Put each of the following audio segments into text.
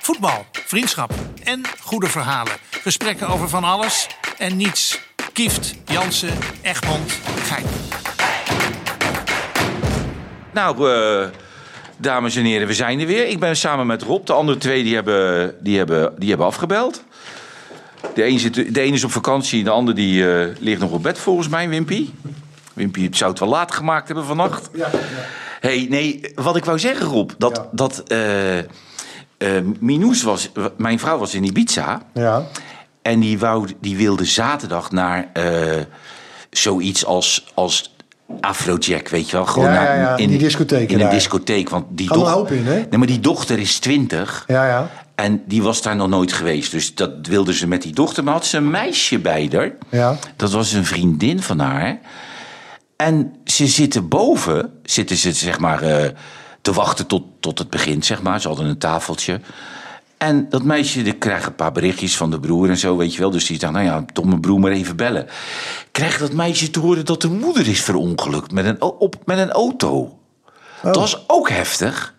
Voetbal, vriendschap en goede verhalen. Gesprekken over van alles en niets. Kieft, Jansen, Egmond, Gein. Nou, eh, dames en heren, we zijn er weer. Ik ben samen met Rob. De andere twee die hebben, die hebben, die hebben afgebeld. De een, zit, de een is op vakantie, de ander die, eh, ligt nog op bed volgens mij, Wimpy. Wimpy, het zou het wel laat gemaakt hebben vannacht. hey, nee, wat ik wou zeggen, Rob, dat, Ja. dat eh, eh, Minoes was, mijn vrouw was in Ibiza. Ja. En die, wou, die wilde zaterdag naar eh, zoiets als, als Afrojack, weet je wel. Gewoon Ja, ja, naar- ja, die discotheken In een daar. discotheek. Want die Allemaal doch- hoop in, hè? Nee, maar die dochter is twintig. Ja, ja. En die was daar nog nooit geweest. Dus dat wilde ze met die dochter. Maar had ze een meisje bij haar. Ja. Dat was een vriendin van haar. En ze zitten boven, zitten ze zeg maar eh, te wachten tot, tot het begint, zeg maar. Ze hadden een tafeltje. En dat meisje die krijgt een paar berichtjes van de broer en zo, weet je wel. Dus die dacht, nou ja, toch mijn broer maar even bellen. Krijgt dat meisje te horen dat de moeder is verongelukt met een, o- op, met een auto. Dat was ook heftig.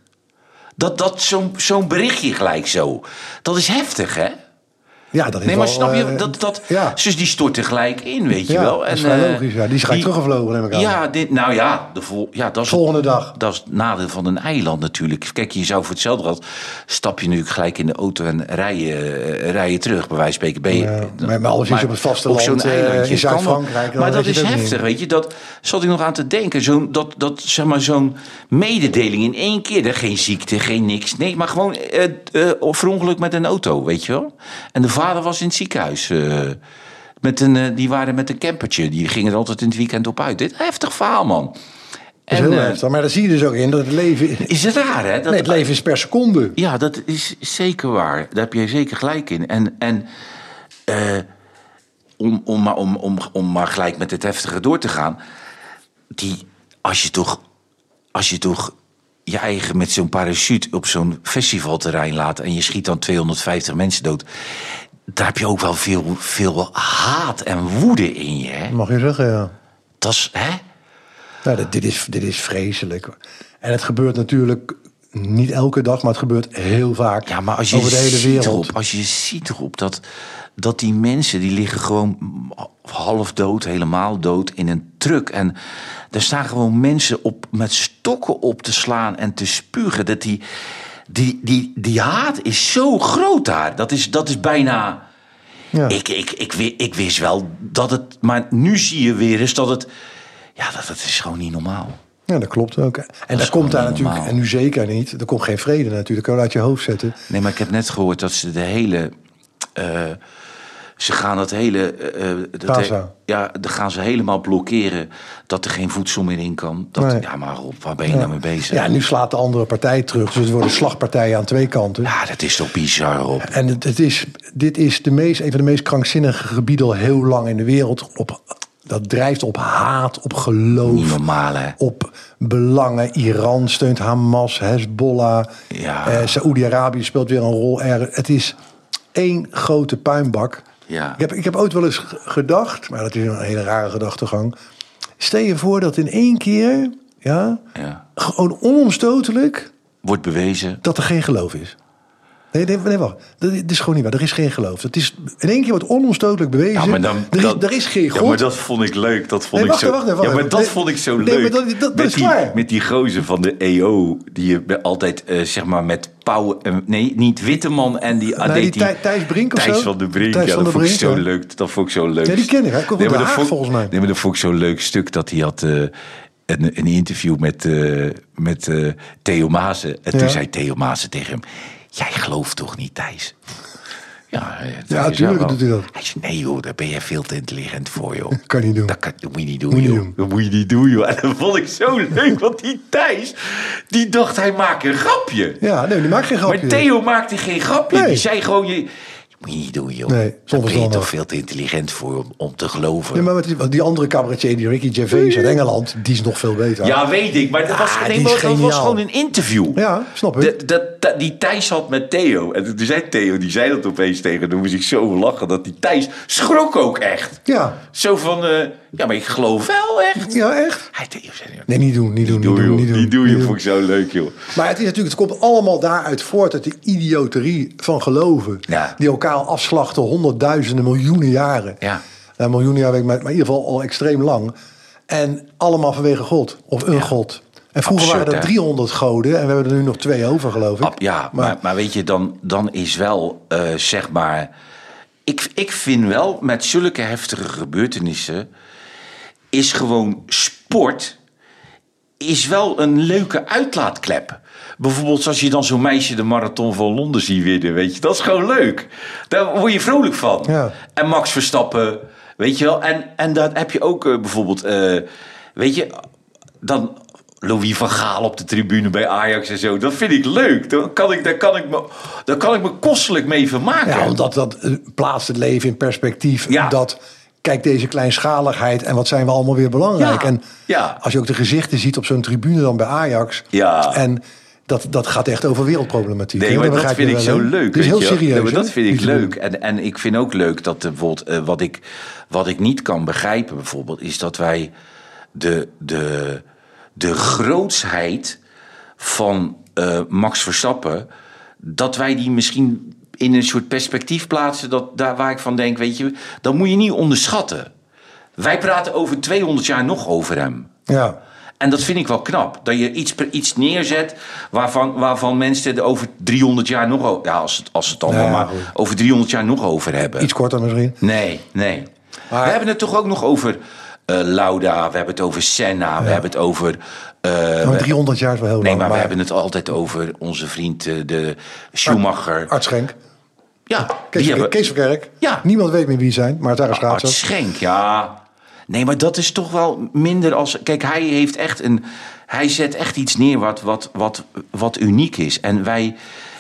Dat, dat zo'n zo'n berichtje gelijk zo. Dat is heftig, hè? Ja, dat is Nee, maar wel, snap je, eh, dat, dat, ja. Dus die stortte gelijk in, weet je Ja, wel. dat is vrij eh, logisch, ja. Die is gelijk teruggevlogen, neem ik aan. Ja, dit, nou ja, de vol, ja dat is Volgende dag. Dat is het nadeel van een eiland natuurlijk. Kijk, je zou voor hetzelfde geld... stap je nu gelijk in de auto en rij je, eh, rij je terug, bij wijze van spreken. Ben je, Ja, maar- maar als je op het vasteland, Op zo'n eh, eilandje. in kan wel. Zuid-Frankrijk, dan Maar dat weet je is het ook niet. heftig, weet je. Dat zat ik nog aan te denken. Zo'n, dat, dat, zeg maar, zo'n mededeling in één keer. Er, geen ziekte, geen niks. Nee, maar gewoon eh eh, verongeluk met een auto, weet je wel. En de vader was in het ziekenhuis... eh, met een, eh, die waren met een campertje. Die gingen er altijd in het weekend op uit. Dit heftig verhaal, man. Dat is heel eh, heftig. Maar daar zie je dus ook in dat het leven... is het raar, hè? Dat, nee, het leven is per seconde. Ja, dat is zeker waar. Daar heb je zeker gelijk in. En, en eh, om, om, maar- om, om, om maar gelijk met het heftige door te gaan. Die, als je toch, als je toch je eigen met zo'n parachute op zo'n festivalterrein laat... en je schiet dan 250 mensen dood... daar heb je ook wel veel, veel haat en woede in je, hè? Mag je zeggen, ja. Dat is, hè? Nou, dit, dit, is, dit is vreselijk. En het gebeurt natuurlijk niet elke dag, maar het gebeurt heel vaak. Ja, maar als je over de hele ziet wereld. erop, als je ziet erop dat, dat die mensen die liggen gewoon half dood, helemaal dood in een truck. En daar staan gewoon mensen op met stokken op te slaan en te spugen. Dat die, die, die, die haat is zo groot daar. Dat is, dat is bijna. Ja. Ik, ik, ik, wi- ik wist wel dat het. Maar nu zie je weer eens dat het. Ja, dat, dat is gewoon niet normaal. Ja, dat klopt ook. En is dat gewoon komt daar natuurlijk, normaal. en nu zeker niet, er komt geen vrede natuurlijk. Dat kan je uit je hoofd zetten. Nee, maar ik heb net gehoord dat ze de hele. eh, ze gaan dat hele. eh, eh, dat Gaza. ja, dan gaan ze helemaal blokkeren. Dat er geen voedsel meer in kan. Dat, Nee. Ja, maar op, waar ben je nou mee bezig? Ja, nu slaat de andere partij terug. Dus het worden slagpartijen aan twee kanten. Ja, dat is toch bizar, Rob? En het, het is, dit is de meest, een van de meest krankzinnige gebieden al heel lang in de wereld. Op, dat drijft op haat, op Niet geloof, normaal, hè? op belangen. Iran steunt Hamas, Hezbollah. Ja. Eh, Saoedi-Arabië speelt weer een rol. Er, het is één grote puinbak. Ja. Ik, heb, ik heb ooit wel eens g- gedacht, maar dat is een hele rare gedachtegang. Stel je voor dat in één keer, ja, Ja. gewoon onomstotelijk Wordt bewezen. dat er geen geloof is. Nee, nee, nee wacht. Dat is, dat is gewoon niet waar. Er is geen geloof. Dat is, in één keer wordt onomstotelijk bewezen. er, is, dat- er is geen God. Ja, maar dat vond ik leuk. Dat vond Nee, ik wacht zo, even, wacht even, wacht ja, maar even. dat Nee, vond ik zo nee, leuk. maar dat- dat- dat met is die, klaar. Met die gozer van de EO. Die je be- altijd, eh, zeg maar, met pauw... eh, nee, niet Witteman en die... ah, Nee, deed die Thij- Thijs Brink of Thijs zo? van de Brink. Thijs ja, van dat de vond ik Brink, zo ja. leuk. Dat vond ik zo leuk. Ja, die ken ik, hè. Komt uit maar Den dat Haag, vond- volgens mij. Nee, maar dat vond ik zo'n leuk stuk. Dat hij had... eh, een, een interview met, eh, met eh, Theo Maassen. En toen Ja. zei Theo Maassen tegen hem... Jij gelooft toch niet, Thijs? Ja, eh, Thijs, tuurlijk wel. doet hij dat. Hij zei, nee joh, daar ben je veel te intelligent voor joh. Kan je niet doen. Dat, kan, dat moet je niet doen Moet je joh. niet doen. Dat moet je niet doen joh. En dat vond ik zo leuk, want die Thijs, die dacht hij maakt een grapje. Ja, nee, die maakt geen grapje. Maar Theo maakte geen grapje. Nee. Die zei gewoon, je, dat moet je niet doen joh. Nee, daar ben je onverstandig. toch veel te intelligent voor om, om te geloven. Nee, maar wat is- want die andere cabaretier, die Ricky Gervais uit Engeland, die is nog veel beter. Ja, weet ik. Maar dat, Ja, Ah, was, nee, die is maar dat was geniaal. gewoon een interview. Ja, snap ik. Dat- dat- dat- die Thijs had met Theo. En toen zei Theo, die zei dat opeens tegen. Toen moest ik zo lachen dat die Thijs schrok ook echt. Ja. Zo van, eh, Ja, maar ik geloof wel echt. Ja, echt? Hij deed- joh, Nee, niet doen, niet doen, doe, niet doen, joh, niet doen. die doe je, niet doen. vond ik zo leuk, joh. Maar het, is natuurlijk, het komt allemaal daaruit voort uit de idioterie van geloven. Ja. Die elkaar al afslachten honderdduizenden, miljoenen jaren. Ja. Nou, miljoenen jaar weet ik, maar, maar in ieder geval al extreem lang. En allemaal vanwege God of een God. En vroeger Absurd, waren er hè? 300 goden en we hebben er nu nog twee over, geloof ik. Ab- Ah, ja, maar, maar, weet je, dan, dan is wel, eh, zeg maar... Ik, ik vind wel, met zulke heftige gebeurtenissen... is gewoon sport... is wel een leuke uitlaatklep. Bijvoorbeeld als je dan zo'n meisje de marathon van Londen ziet winnen, weet je. Dat is gewoon leuk. Daar word je vrolijk van. Ja. En Max Verstappen, weet je wel. En, en dan heb je ook eh, bijvoorbeeld, eh, weet je, dan Louis van Gaal op de tribune bij Ajax en zo. Dat vind ik leuk. Dan kan ik, daar, kan ik me, daar kan ik me kostelijk mee vermaken. Ja, want dat, dat eh, plaatst het leven in perspectief. Ja. Dat, kijk deze kleinschaligheid en wat zijn we allemaal weer belangrijk. Ja, En ja. als je ook de gezichten ziet op zo'n tribune dan bij Ajax. Ja. En dat, dat gaat echt over wereldproblematiek. Nee, hè? maar dat begrijp vind je ik wel, zo hè? leuk. Het is weet heel je wel. serieus. Nee, maar dat hè? vind ik Die tribune. leuk. En, en ik vind ook leuk dat eh, bijvoorbeeld, eh, wat, ik, wat ik niet kan begrijpen, bijvoorbeeld, is dat wij de, de, de grootsheid van eh, Max Verstappen, dat wij die misschien in een soort perspectief plaatsen, dat, daar waar ik van denk, weet je, dat moet je niet onderschatten. Wij praten over 200 jaar nog over hem. Ja. En dat vind ik wel knap. Dat je iets, iets neerzet waarvan, waarvan mensen er over 300 jaar nog over... Ja, als het, als het allemaal Nou ja, maar goed. over 300 jaar nog over hebben. Iets korter misschien. Nee, nee. Maar- We hebben het toch ook nog over eh, Lauda. We hebben het over Senna. We hebben het over... eh, Maar 300 jaar is wel heel nee, lang. maar we hebben het altijd over onze vriend eh, de Schumacher. Arts Schenk. ja, Kees, die hebben... Kees van Kerk. Ja. Niemand weet meer wie ze zijn, maar het daar is Art schaatsen. Schenk, ja. Nee, maar dat is toch wel minder als... Kijk, hij heeft echt een... Hij zet echt iets neer wat, wat, wat, wat uniek is. En wij,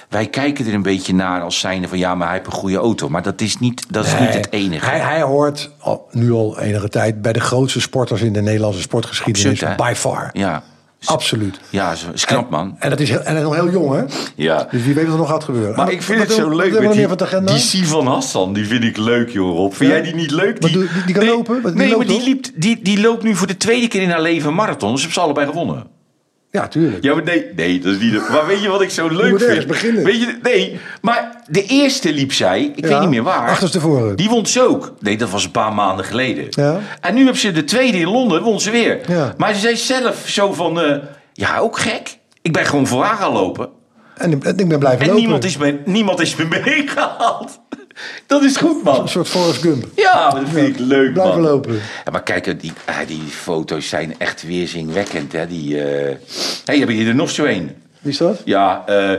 wij kijken er een beetje naar als zijnde van... Ja, maar hij heeft een goede auto. Maar dat is niet, dat is niet het enige. Hij, hij hoort al, nu al enige tijd bij de grootste sporters in de Nederlandse sportgeschiedenis. Absoluut, hè? by far. ja. Absoluut. ja, zo- is knap, man. En dat is heel, en heel, heel jong, hè? Ja. Dus wie weet wat er nog gaat gebeuren. Maar En ik vind wat het doen- zo Wat leuk hebben met we die, meer van de agenda? die Sivan Hassan. Die vind ik leuk, joh, Rob. Vind Ja? jij die niet leuk? Wat doe- die- die kan lopen? Wat- die nee, loopt maar die, toch? liep, die, die loopt nu voor de tweede keer in haar leven een marathon. Dus ze hebben ze allebei gewonnen. Ja, tuurlijk. Ja, maar nee, nee, dat is niet. het- Maar weet je wat ik zo leuk moet vind? ergens beginnen. Weet je, nee, maar de eerste liep zij, ik Ja, weet niet meer waar. achterstevoren. Die won ze ook. Nee, dat was een paar maanden geleden. Ja. En nu heb ze de tweede in Londen, won ze weer. Ja. Maar ze zei zelf zo van, eh, ja, ook gek. Ik ben gewoon voor haar gaan lopen. En, ik- en ik ben blijven En lopen. niemand is, me, niemand is me meegehaald. Dat is goed, man. Een soort Forrest Gump. Ja, maar dat vind ik leuk, man. Blijven lopen. Ja, maar kijk, die, ah, die foto's zijn echt weerzinwekkend, hè. Die, eh hey, heb je er nog zo een? Wie is dat? Ja, eh,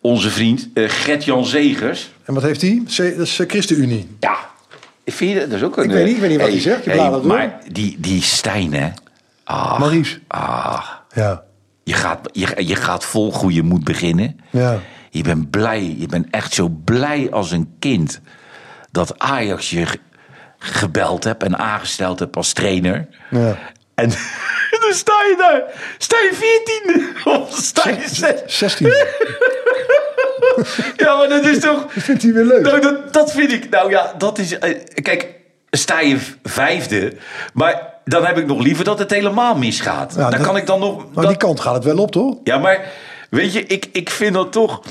onze vriend eh Gert-Jan Zegers. En wat heeft hij? Dat is eh, ChristenUnie. Ja, vind je dat? dat is ook een... eh, Ik weet niet- ik weet niet wat hij zegt. Ik laat het door. maar die, die Stijn, hè. Ah, Maries. ah, Ja. je, gaat, je, je gaat vol goede moed beginnen. Ja. Je bent blij. Je bent echt zo blij als een kind. Dat Ajax je ge- gebeld hebt en aangesteld hebt als trainer. Ja. En dan sta je daar. Sta je veertiende? Of sta je zes? 16. Ja, maar dat is toch... Vindt hij weer leuk? Nou, dat, dat vind ik. Nou ja, dat is. eh, Kijk, sta je v- vijfde. Maar dan heb ik nog liever dat het helemaal misgaat. Ja, dan dat- kan ik dan nog. Maar dat- die kant gaat het wel op, toch? Ja, maar weet je, ik, ik vind dat toch.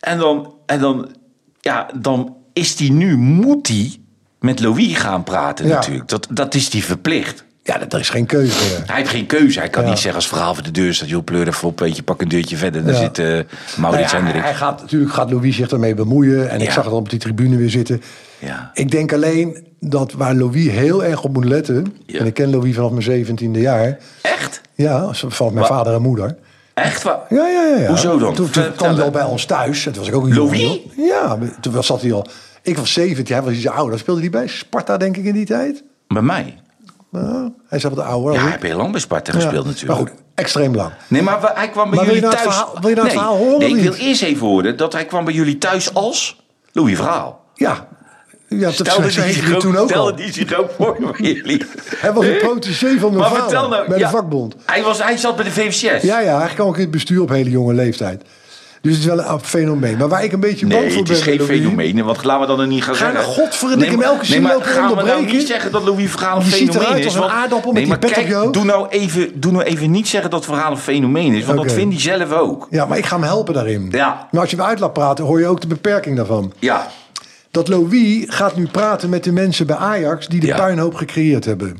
En dan, en dan. Ja, dan is die nu. Moet die met Louis gaan praten, Ja. natuurlijk. Dat, dat is die verplicht. Ja, dat, er is geen keuze meer. Hij heeft geen keuze. Hij kan Ja. niet zeggen als verhaal voor de deur staat... joh, pleur even op, weet je, pak een deurtje verder. Daar Ja. zit eh Nou Maurits ja, hij, Hendricks. hij gaat, natuurlijk gaat Louis zich ermee bemoeien. En ik Ja. zag het al op die tribune weer zitten. Ja. Ik denk alleen dat waar Louis heel erg op moet letten... Ja. en ik ken Louis vanaf mijn 17e jaar... Echt? ja, van mijn Wa- vader en moeder... Echt waar? Ja, ja, ja. ja. Hoezo dan? Toen, toen kwam Vertel. hij al bij ons thuis. En toen was ik ook een jongen. Louis? joh. Ja, maar toen was- zat hij al... Ik was 17, hij was iets ouder. Dan speelde hij bij Sparta, denk ik, in die tijd. Bij mij? Nou, hij is wat ouder. Ja, hoor. hij heeft heel lang bij Sparta Ja. gespeeld natuurlijk. Maar goed, extreem lang. Nee, maar we- hij kwam bij Maar wil jullie je nou thuis... het verhaal- wil je nou het nee, verhaal horen nee, of ik wil niet? eerst even horen dat hij kwam bij jullie thuis als Louis Verhaal. Ja. Ja, dat Stelde zei die hij zich ook, toen ook stelde al. die zich ook voor bij jullie. Hij was een protégé van mijn Maar vader vertel nou... bij ja, de vakbond. Hij, was, hij zat bij de VVCS. Ja, ja, hij kwam ook in het bestuur op hele jonge leeftijd. Dus het is wel een fenomeen. Maar waar ik een beetje bang Nee, voor het ben... is geen Louis, fenomeen. Want laten we dan er niet gaan Ga je zeggen. nou godverdikke maar- elke zin maar lopen gaan we nou onderbreken? niet zeggen dat Louis Vergaal een Je ziet fenomeen eruit is? als een want- aardappel nee, met maar die pet op kijk, je hoofd. Doe nou, even, doe nou even niet zeggen dat Vergaal een fenomeen is. Want Oké. dat vindt hij zelf ook. Ja, maar ik ga hem helpen daarin. Ja. Maar als je hem uit laat praten, hoor je ook de beperking daarvan. Ja, Dat Louis gaat nu praten met de mensen bij Ajax die de Ja. puinhoop gecreëerd hebben.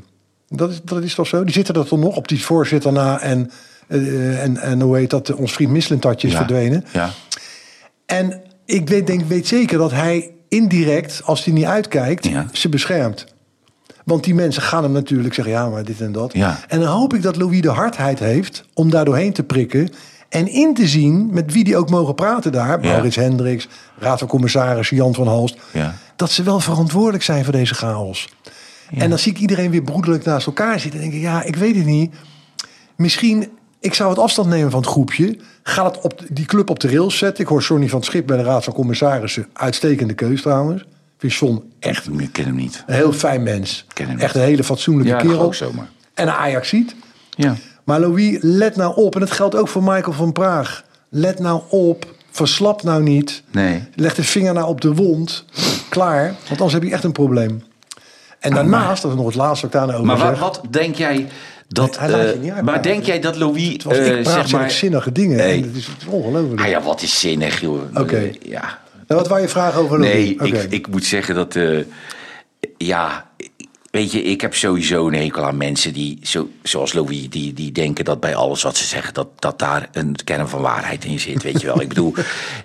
Dat is, dat is toch zo? Die zitten er toch nog op die voorzitter na en, eh, en, en hoe heet dat, eh, ons vriend Mislintatje is ja. verdwenen. Ja. En ik weet, denk, weet zeker dat hij indirect, als hij niet uitkijkt, Ja. ze beschermt. Want die mensen gaan hem natuurlijk zeggen, ja, maar dit en dat. Ja. En dan hoop ik dat Louis de hardheid heeft om daar doorheen te prikken... en in te zien met wie die ook mogen praten daar... Ja. Maurits Hendricks, Raad van Commissarissen, Jan van Halst... Ja. dat ze wel verantwoordelijk zijn voor deze chaos. En dan zie ik iedereen weer broederlijk naast elkaar zitten... en denk ik, ja, ik weet het niet misschien, ik zou het afstand nemen van het groepje. Ga het op die club op de rails zetten. Ik hoor Sonny van het Schip bij de Raad van Commissarissen. Uitstekende keus trouwens. Vind Son echt Ik ken hem niet. een heel fijn mens. Ken hem Echt niet. een hele fatsoenlijke Ja, dat kerel. ook zomaar. En een Ajax ziet. Ja. Maar Louis, let nou op. En dat geldt ook voor Michael van Praag. Let nou op. Verslap nou niet. Nee. Leg de vinger nou op de wond. Klaar. Want anders heb je echt een probleem. En daarnaast, dat is nog het laatste wat ik daarna over Ah, Maar zeg. wat, wat denk jij dat. Nee, hij laat eh, je niet uitpraten. maar denk jij dat Louis. Zoals eh, ik praat, zeg zeg maar, ik zinnige dingen. Nee. En dat is, het is ongelooflijk. Ah ja, wat is zinnig, joh. Oké. Eh, ja. Nou, wat waar je vragen over Louis? Nee, Oké. ik, ik moet zeggen dat. eh, ja, weet je, ik heb sowieso een hekel aan mensen die, zo, zoals Louis, die, die denken dat bij alles wat ze zeggen, dat, dat daar een kern van waarheid in zit. Weet je wel, ik bedoel.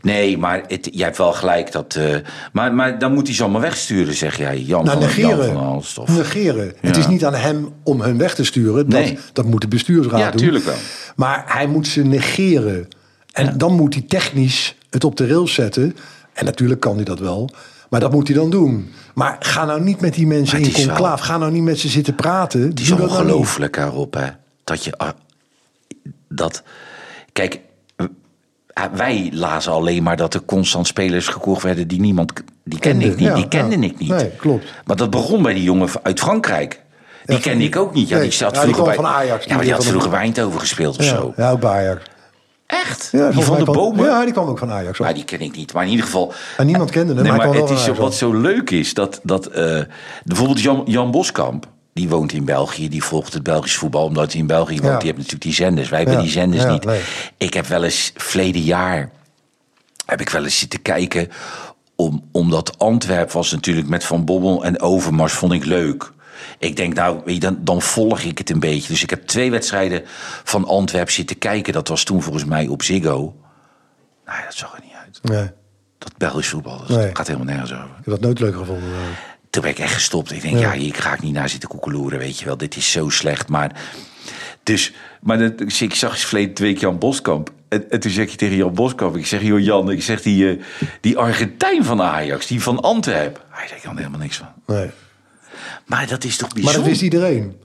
Nee, maar het, jij hebt wel gelijk dat. eh, maar, maar dan moet hij ze allemaal wegsturen, zeg jij, Jan Nou, van Jan negeren. van Halst. of- negeren. Het is niet aan hem om hun weg te sturen. Dat, Nee. dat moet de bestuursraad Ja, doen. tuurlijk wel. Maar hij moet ze negeren. En dan moet hij technisch het op de rails zetten. En natuurlijk kan hij dat wel. Maar dat moet hij dan doen. Maar ga nou niet met die mensen Maar het in is wel- conclaaf. Ga nou niet met ze zitten praten. Het is nou ongelooflijk daarop, hè? Dat je. ah, Dat. Kijk, eh, wij lazen alleen maar dat er constant spelers gekocht werden die niemand. k- Die kende, Kende, ik niet. ja, die kende ja. ik niet. Nee, klopt. Maar dat begon bij die jongen v- uit Frankrijk. Die van- kende ik ook niet. Ja, nee, die zat ja, die vroeger kwam bij van Ajax, die Ja, maar die weer had van de- vroeger bij Eindhoven gespeeld of Ja, zo. ja, ook bij Ajax. Echt? die Ja, volgens van mij de kwam- bomen. Ja, die kwam ook van Ajax. hoor. Maar die ken ik niet. Maar in ieder geval. eh, En niemand kende hem, Nee, maar hij maar kwam het wel is zo, naar wat zo leuk is dat. dat eh, bijvoorbeeld Jan, Jan Boskamp. Die woont in België. Die volgt het Belgisch voetbal. Omdat hij in België woont. Ja. Die heeft natuurlijk die zenders. Wij hebben Ja, die zenders ja, niet. nee. Ik heb wel eens. Verleden jaar. Heb ik wel eens zitten kijken. Om, omdat Antwerp was natuurlijk met Van Bobbel en Overmars. Vond ik leuk. Ik denk, nou, weet je, dan, dan volg ik het een beetje. Dus ik heb twee wedstrijden van Antwerp zitten kijken. Dat was toen volgens mij op Ziggo. Nou ja, dat zag er niet uit. Nee, Dat Belgisch voetbal, dat Nee. gaat helemaal nergens over. ik heb dat nooit leuk gevonden. Toen ben ik echt gestopt. Ik denk, ja, hier ga ik niet naar zitten koekeloeren, weet je wel. Dit is zo slecht, maar... Dus, maar dat, ik zie- ik zag eens verleden week Jan Boskamp. En, en toen zeg je tegen Jan Boskamp, ik zeg, joh Jan, ik zeg die, eh, die Argentijn van Ajax, die van Antwerpen. Hij zei, ik kan er helemaal niks van. Nee. Maar dat is toch Maar bijzonder? dat wist iedereen.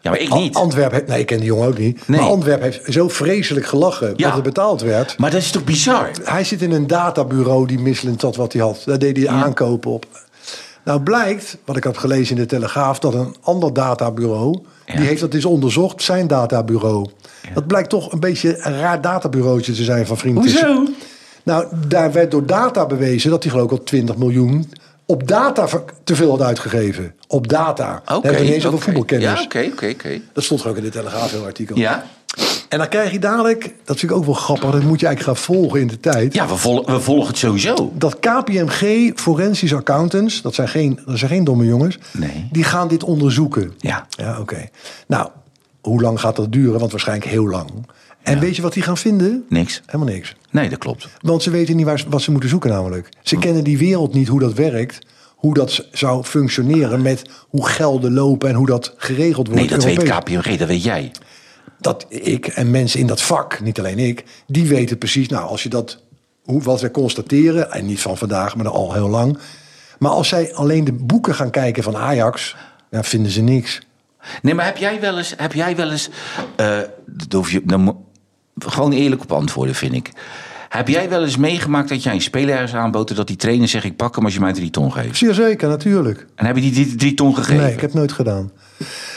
Ja, maar ik niet. Antwerp heeft, nee, ik ken die jongen ook niet. Nee. Maar Antwerp heeft zo vreselijk gelachen Ja. dat er betaald werd. Maar dat is toch bizar? Hij zit in een databureau die mislukt had wat hij had. Daar deed hij aankopen op. Nou blijkt, wat ik had gelezen in de Telegraaf, dat een ander databureau, Ja. die heeft dat eens onderzocht, zijn databureau. Dat blijkt toch een beetje een raar databureautje te zijn van vrienden. Hoezo? Nou, daar werd door data bewezen dat hij geloof ik al 20 miljoen op data ver- te veel had uitgegeven. Op data. Oké, Dan hebben we niet eens over oké. voetbalkennis. Ja, oké, oké, oké. Dat stond er ook in de Telegraaf heel artikel. Ja, En dan krijg je dadelijk, dat vind ik ook wel grappig, dat moet je eigenlijk gaan volgen in de tijd. ja we, vol- we volgen het sowieso. Dat KPMG, forensisch accountants, dat zijn geen, dat zijn geen domme jongens, Nee. die gaan dit onderzoeken. Ja. Ja, oké. Nou, hoe lang gaat dat duren? Want waarschijnlijk heel lang. En weet je wat die gaan vinden? Niks. Helemaal niks. Nee, dat klopt. Want ze weten niet waar, ze- wat ze moeten zoeken namelijk. Hm. Ze kennen die wereld niet, hoe dat werkt. Hoe dat z- zou functioneren met hoe gelden lopen en hoe dat geregeld wordt. Nee, dat weet Europees. KPMG, dat weet jij. dat ik en mensen in dat vak, niet alleen ik, die weten precies, nou, als je dat, hoe, wat we constateren, en niet van vandaag, maar al heel lang. Maar als zij alleen de boeken gaan kijken van Ajax, dan vinden ze niks. Nee, maar heb jij wel eens, heb jij wel eens, eh, dat hoef je, dan mo- gewoon eerlijk op antwoorden vind ik. Heb jij wel eens meegemaakt dat jij een speler ergens aanbood en dat die trainer zegt ik pak hem als je mij drie ton geeft? Zeer zeker, natuurlijk. En hebben die die drie ton gegeven? Nee, ik heb het nooit gedaan.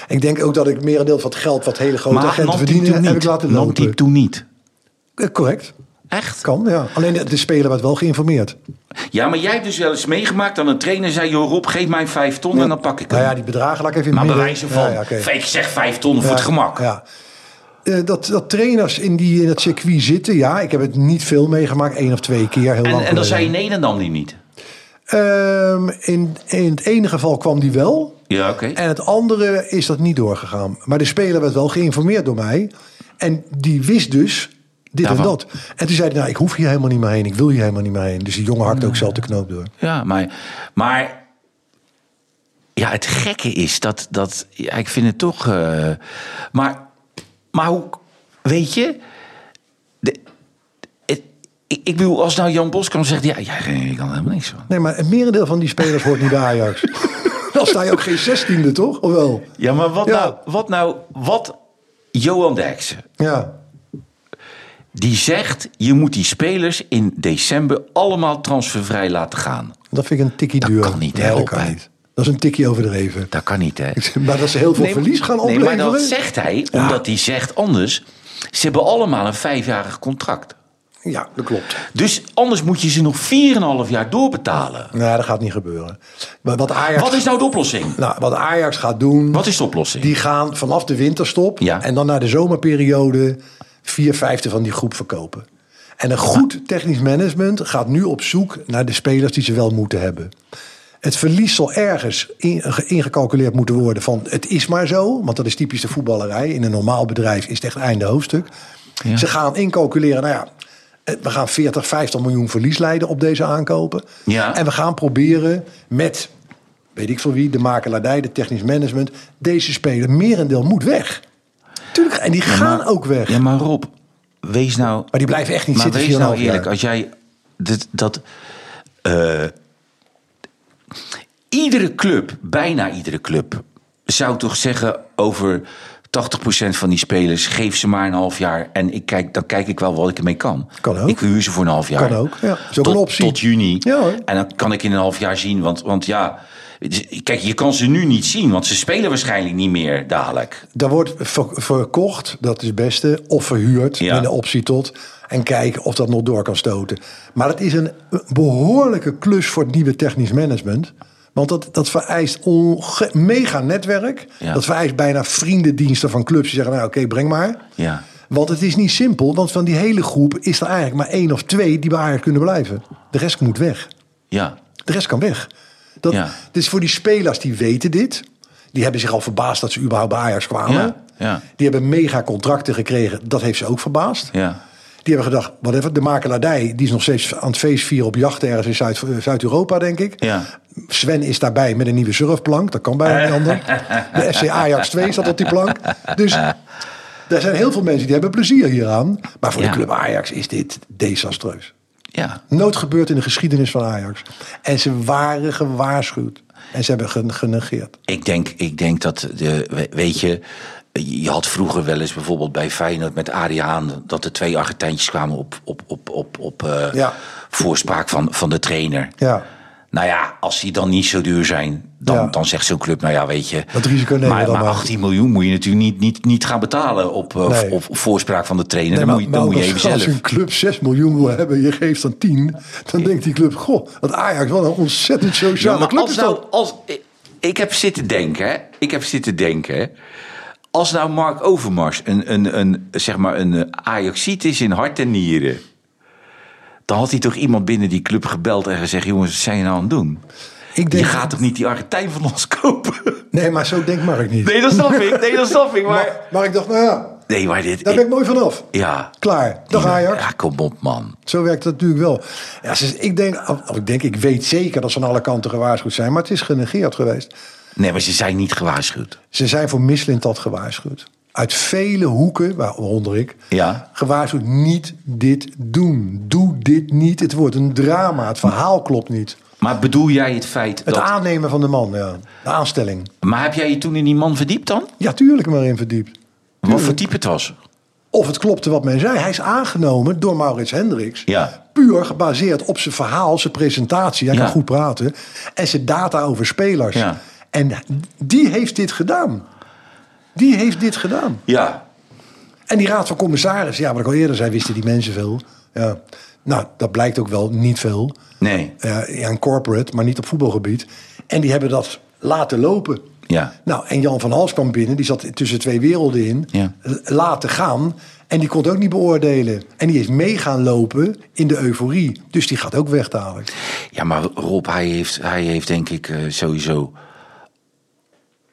Ik denk ook dat ik merendeel van het geld wat hele grote maar agenten nam die toen verdienen, heb ik niet. laten Nam die lopen. toen niet. Eh, Correct. Echt? Kan, ja. Alleen de, de speler werd wel geïnformeerd. Ja, maar jij hebt dus wel eens meegemaakt dat een trainer zei... joh Rob, geef mij vijf ton en dan pak ik hem. Nou ja, die bedragen laat ik even in maar het midden. bewijzen van, Ja, ja, oké. ik zeg vijf ton voor het Ja, gemak. Ja. Eh, dat, dat trainers in, die, in dat circuit zitten, ja, ik heb het niet veel meegemaakt, één of twee keer, heel lang En, en dan geleden. zei je nee, dan nam die niet. Ehm, in, in het ene geval kwam die wel, Ja, oké. en het andere is dat niet doorgegaan. Maar de speler werd wel geïnformeerd door mij, en die wist dus dit Daarvan. en dat. En toen zei hij, nou, ik hoef hier helemaal niet meer heen, ik wil hier helemaal niet meer heen. Dus die jongen hakte ook zelf de knoop door. Ja, maar, maar ja, het gekke is dat, dat ja, ik vind het toch. eh, maar, maar hoe, weet je, de, het- ik, ik bedoel, als nou Jan Boskamp zegt, ja, ja, ik kan er helemaal niks van. Nee, maar het merendeel van die spelers hoort niet bij Ajax. Dan sta je ook geen zestiende, toch? Of wel? Ja, maar wat Ja. nou, wat nou, wat Johan Derksen, Ja. die zegt, je moet die spelers in december allemaal transfervrij laten gaan. Dat vind ik een tikkie Dat duur. kan niet, hè, Nee, dat Rob, kan hè? niet. Dat is een tikkie overdreven. Dat kan niet, hè? Maar dat ze heel veel verlies gaan opleveren. Nee, maar dat zegt hij, Ja. omdat hij zegt anders. Ze hebben allemaal een vijfjarig contract. Ja, dat klopt. Dus anders moet je ze nog 4,5 jaar doorbetalen. Nee, Nou, dat gaat niet gebeuren. Maar wat Ajax, Wat is nou de oplossing? nou, wat Ajax gaat doen, Wat is de oplossing? die gaan vanaf de winterstop Ja. en dan naar de zomerperiode vier vijfde van die groep verkopen. En een goed technisch management gaat nu op zoek naar de spelers die ze wel moeten hebben. Het verlies zal ergens in- ingecalculeerd moeten worden van het is maar zo. Want dat is typisch de voetballerij. In een normaal bedrijf is het echt einde hoofdstuk. Ja. Ze gaan incalculeren, nou ja, eh, we gaan 40, 50 miljoen verlies leiden op deze aankopen. Ja. En we gaan proberen met, weet ik veel wie, de makelaardij, de technisch management. Deze speler, merendeel moet weg. Tuurlijk, en die gaan maar- ook weg. Ja, maar Rob, wees nou... Maar die blijven echt niet maar zitten wees nou 4,5 jaar. eerlijk, als jij dit, dat... eh, iedere club, bijna iedere club... zou toch zeggen over 80% van die spelers... geef ze maar een half jaar en ik kijk, dan kijk ik wel wat ik ermee kan. Kan ook. Ik huur ze voor een half jaar. Kan ook, ja. Is ook tot, een optie. Tot juni. Ja, hoor. En dan kan ik in een half jaar zien, want, want ja... Kijk, je kan ze nu niet zien, want ze spelen waarschijnlijk niet meer dadelijk. Daar wordt ver- verkocht, dat is het beste, of verhuurd Ja. met een optie tot. En kijken of dat nog door kan stoten. Maar het is een behoorlijke klus voor het nieuwe technisch management. Want dat, dat vereist onge- mega netwerk. Ja. Dat vereist bijna vriendendiensten van clubs die zeggen, nou oké, breng maar. Ja. Want het is niet simpel, want van die hele groep is er eigenlijk maar één of twee die bij Ajax kunnen blijven. De rest moet weg. Ja. De rest kan weg. Dat, Ja. Dus voor die spelers die weten dit. Die hebben zich al verbaasd dat ze überhaupt bij Ajax kwamen. Ja, ja. Die hebben mega contracten gekregen. Dat heeft ze ook verbaasd. Ja. Die hebben gedacht, whatever, de makelaardij... die is nog steeds aan het feest vieren op jacht ergens in Zuid- eh, Zuid-Europa, denk ik. Ja. Sven is daarbij met een nieuwe surfplank. Dat kan bijna niet anders. De FC Ajax 2 zat op die plank. Dus er zijn heel veel mensen die hebben plezier hieraan. Maar voor Ja. de club Ajax is dit desastreus. Ja. Nooit gebeurd in de geschiedenis van Ajax. En ze waren gewaarschuwd. En ze hebben gen- genegeerd. Ik denk, ik denk dat, de, we- weet je, je had vroeger wel eens bijvoorbeeld bij Feyenoord met Arie Haan... dat er twee Argentijntjes kwamen op, op, op, op, op eh, Ja. voorspraak van, van de trainer. Ja. Nou ja, als die dan niet zo duur zijn, dan, Ja. dan zegt zo'n club... nou ja, weet je, Dat risico nemen we maar, dan maar maar. 18 miljoen moet je natuurlijk niet, niet, niet gaan betalen op, eh, Nee. op voorspraak van de trainer. dan moet je, dan ook moet je als- even zelf. Als een club 6 miljoen wil hebben, je geeft dan 10. Dan denkt die club, goh, wat Ajax, wat een ontzettend Ja, sociale maar club als is nou, dat. als, ik, ik heb zitten denken, hè. ik heb zitten denken, hè. als nou Mark Overmars een, een, een, zeg maar een eh, Ajaxiet is in hart en nieren, dan had hij toch iemand binnen die club gebeld en gezegd, jongens, wat zijn je nou aan het doen? Ik Je gaat toch niet die Argentijn van ons kopen? Nee, maar zo denkt Mark niet. Nee, dat snap ik. Nee, dat snap ik. Maar, maar, maar ik dacht, nou ja, nee, maar dit... daar ben ik mooi vanaf. ja. Klaar, dag Ajax. Ja, kom op, man. Zo werkt dat natuurlijk wel. Ja, ze- ik, denk, of ik denk, ik weet zeker dat ze aan alle kanten gewaarschuwd zijn. Maar het is genegeerd geweest. Nee, maar ze zijn niet gewaarschuwd. Ze zijn voor Mislintat gewaarschuwd. Uit vele hoeken, waaronder ik, Ja. gewaarschuwd niet dit doen. Doe dit niet. Het wordt een drama. Het verhaal klopt niet. Maar bedoel jij het feit Het dat... aannemen van de man, ja. De aanstelling. Maar heb jij je toen in die man verdiept dan? Ja, tuurlijk maar in verdiept. Wat voor type het was? Of het klopte wat men zei. Hij is aangenomen door Maurits Hendricks. Ja. Puur gebaseerd op zijn verhaal, zijn presentatie. Hij Ja. kan goed praten. En zijn data over spelers. Ja. En die heeft dit gedaan. Die heeft dit gedaan. Ja, En die raad van commissaris, ja, wat ik al eerder zei, wisten die mensen veel. Ja. Nou, dat blijkt ook wel niet veel. Nee. Eh, ja, een corporate, maar niet op voetbalgebied. En die hebben dat laten lopen. Ja. Nou, en Jan van Hals kwam binnen. Die zat tussen twee werelden in. Ja. L- Laten gaan. En die kon het ook niet beoordelen. En die is mee gaan lopen in de euforie. Dus die gaat ook weg dadelijk. Ja, maar Rob, hij heeft, hij heeft denk ik eh, sowieso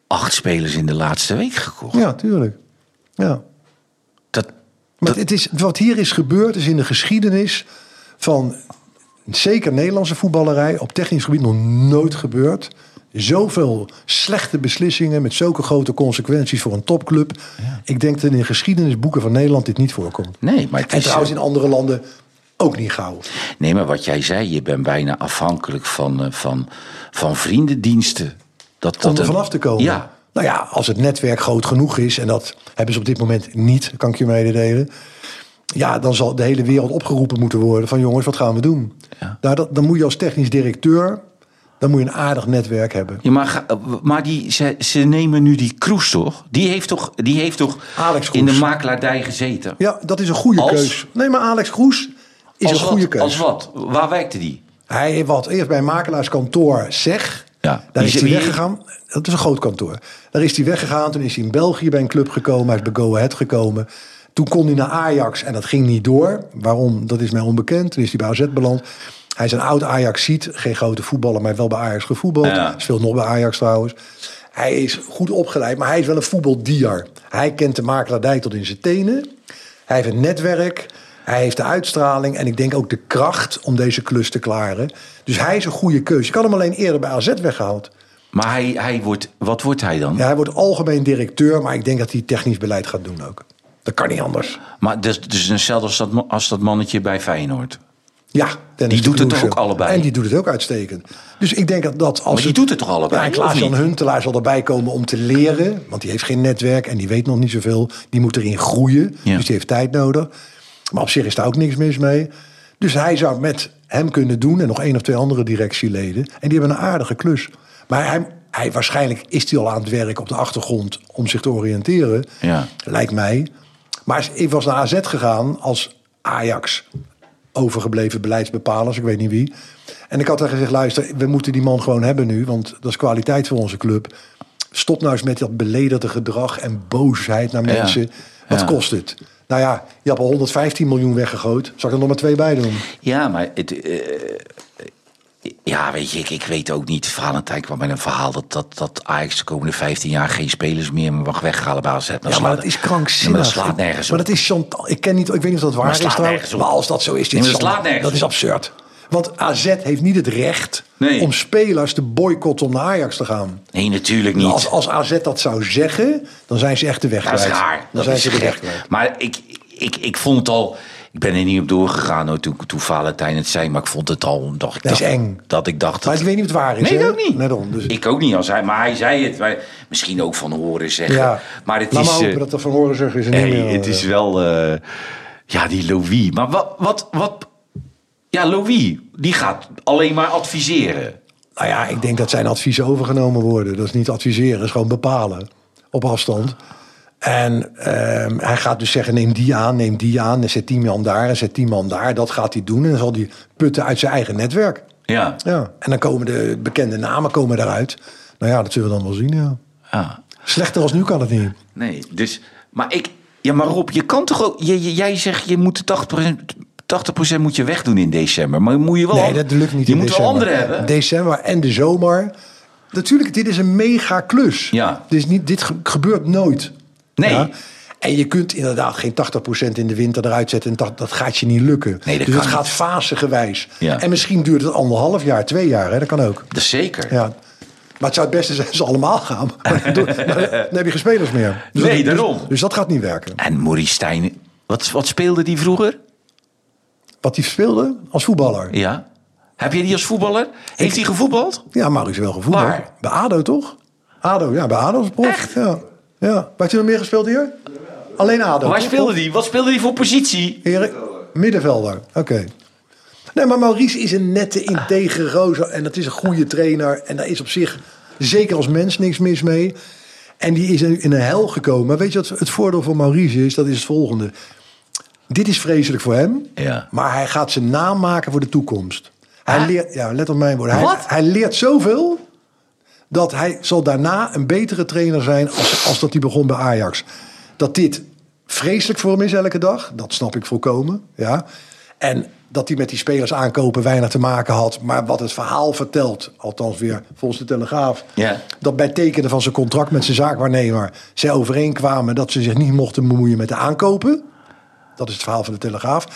acht spelers in de laatste week gekocht. Ja, tuurlijk. Ja. Dat, Maar het is, wat hier is gebeurd is in de geschiedenis van zeker Nederlandse voetballerij op technisch gebied nog nooit gebeurd. Zoveel slechte beslissingen met zulke grote consequenties voor een topclub. Ik denk dat in de geschiedenisboeken van Nederland dit niet voorkomt. nee, maar het En is, trouwens in andere landen ook niet gauw. eh, nee, maar wat jij zei, je bent bijna afhankelijk van, eh, van, van vriendendiensten. Dat, dat Om er een- vanaf te komen. Ja, Nou ja, als het netwerk groot genoeg is, en dat hebben ze op dit moment niet, kan ik je mededelen. Ja, dan zal de hele wereld opgeroepen moeten worden van jongens, wat gaan we doen? Ja. Daar, dat, dan moet je als technisch directeur, dan moet je een aardig netwerk hebben. Ja, maar, ga- eh, maar die, ze, ze nemen nu die Kroes toch? Die heeft toch, die heeft toch Alex Kroes. in de makelaardij gezeten? Ja, dat is een goede Als? keus. Nee, maar Alex Groes is als een goede wat, keus. Als wat? Waar werkte die? Hij wat eerst bij een makelaarskantoor zeg. Ja. Daar Wie is is- hij wie- weggegaan. Dat is een groot kantoor. Daar is hij weggegaan. Toen is hij in België bij een club gekomen. Hij is bij Go Ahead gekomen. Toen kon hij naar Ajax en dat ging niet door. Waarom? Dat is mij onbekend. Toen is hij bij AZ beland. Hij is een oud Ajax-ziet. Geen grote voetballer, maar wel bij Ajax gevoetbald. Ja. Speelt nog bij Ajax trouwens. Hij is goed opgeleid, maar hij is wel een voetbaldier. Hij kent de makelaardij tot in zijn tenen. Hij heeft een netwerk. Hij heeft de uitstraling en ik denk ook de kracht om deze klus te klaren. Dus hij is een goede keus. Je kan hem alleen eerder bij AZ weggehaald. Maar hij, hij wordt, wat wordt hij dan? Ja, hij wordt algemeen directeur, maar ik denk dat hij technisch beleid gaat doen ook. Dat kan niet anders. Maar dus, dus hetzelfde als dat, ma- als dat mannetje bij Feyenoord. Ja, Dennis Die doet de het Kloeze. toch ook allebei? En die doet het ook uitstekend. Dus ik denk dat, dat als. die doet het toch allebei, Ja, en of Klaas-Jan niet? Huntelaar zal erbij komen om te leren. Want die heeft geen netwerk en die weet nog niet zoveel. Die moet erin groeien. Ja. Dus die heeft tijd nodig. Maar op zich is daar ook niks mis mee. Dus hij zou met hem kunnen doen en nog één of twee andere directieleden. En die hebben een aardige klus. Maar hij, hij, waarschijnlijk is hij al aan het werk op de achtergrond om zich te oriënteren. Ja. Lijkt mij. Maar ik was naar AZ gegaan als Ajax overgebleven beleidsbepalers, ik weet niet wie. En ik had daar gezegd, luister, we moeten die man gewoon hebben nu... want dat is kwaliteit voor onze club. Stop nou eens met dat beledigde gedrag en boosheid naar Ja. mensen. Wat Ja. kost het? Nou ja, je hebt al 115 miljoen weggegooid. Zal ik er nog maar twee bij doen? Ja, maar het, eh, ja, weet je, ik, ik weet ook niet. Valentijn kwam met een verhaal dat, dat, dat Ajax de komende 15 jaar geen spelers meer mag weghalen bij AZ. Ja, maar dat is krankzinnig. Maar dat slaat nergens op. Maar dat is chantal. Ik ken niet, ik weet niet of dat waar slaat is trouwens. nergens op. Maar als dat zo is, dit Nee, maar dat schandaal. slaat nergens dat is op. absurd. Want AZ heeft niet het recht Nee. om spelers te boycotten om naar Ajax te gaan. Nee, natuurlijk niet. Nou, Als, als AZ dat zou zeggen, dan zijn ze echt de weg Dat is kwijt. raar. Dan Dat zijn is ze de weg gek. kwijt. Maar ik, ik, ik vond het al... Ik ben er niet op doorgegaan hoor, toen, toen Valentijn het zei. Maar ik vond het al... Dacht, ik Dat is dacht- eng. Dat ik dacht... Maar dat- ik weet niet of het waar is, Nee, hè? ik ook niet. Nee, daarom, dus- Ik ook niet. Als hij, maar hij zei het. Wij, misschien ook van horen zeggen. Ja. Maar het Laat is... maar hopen eh, dat er van horen zeggen is. er niet hey, meer, het eh, is wel... eh, ja, die Louis. Maar wat, wat, wat... Ja, Louis. Die gaat alleen maar adviseren. Nou ja, ik denk dat zijn adviezen overgenomen worden. Dat is niet adviseren, dat is gewoon bepalen op afstand. En ehm, hij gaat dus zeggen, neem die aan, neem die aan. En zet die man daar, en zet die man daar. Dat gaat hij doen en dan zal hij putten uit zijn eigen netwerk. Ja. Ja. En dan komen de bekende namen komen daaruit. Nou ja, dat zullen we dan wel zien, ja. ja. Slechter als nu kan het niet. Nee, dus. Maar ik. Ja, maar Rob, je kan toch ook. je- je- jij zegt je moet de 80%, 80 moet je wegdoen in december. Maar moet je wel. Nee, dat lukt niet Je in moet wel december. anderen hebben. December en de zomer. Natuurlijk, dit is een mega klus. Ja. Dit, is niet, dit ge- gebeurt nooit. Nee. En je kunt inderdaad geen 80% in de winter eruit zetten. En dat, dat gaat je niet lukken. Nee, dat dus kan het niet. gaat fasegewijs. Ja. En misschien duurt het anderhalf jaar, twee jaar. Hè? Dat kan ook. Dat is zeker. Ja. Maar het zou het beste zijn als ze allemaal gaan. Maar dan, doe- maar dan heb je geen spelers meer. Dus Nee, dat- dus- daarom. Dus, dat gaat niet werken. En Maurice Stijn. Wat, wat speelde die vroeger? Wat die speelde als voetballer. Ja. Heb je die als voetballer? Heeft hij gevoetbald? Ja, Mario is wel gevoetbald. Waar? Bij ADO, toch? ADO, ja, bij ADO is prof. Echt? Ja. ja. Waar je nog meer gespeeld hier? Alleen ADO. Waar toch? speelde die? Wat speelde die voor positie? Heren- Middenvelder, oké. Nee, maar Maurice is een nette, integere roze. En dat is een goede trainer. En daar is op zich, zeker als mens, niks mis mee. En die is in in een hel gekomen. Maar weet je wat het voordeel van Maurice is? Dat is het volgende. Dit is vreselijk voor hem, Ja. maar hij gaat zijn naam maken voor de toekomst. Hij Ah. leert, ja, let op mijn woorden. Hij, Wat? hij leert zoveel dat hij zal daarna een betere trainer zijn als, als dat hij begon bij Ajax. Dat dit vreselijk voor hem is elke dag, dat snap ik volkomen. Ja. En dat hij met die spelers aankopen weinig te maken had. Maar wat het verhaal vertelt, althans weer volgens de Telegraaf... Ja. dat bij tekenen van zijn contract met zijn zaakwaarnemer... zij overeenkwamen dat ze zich niet mochten bemoeien met de aankopen. Dat is het verhaal van de Telegraaf.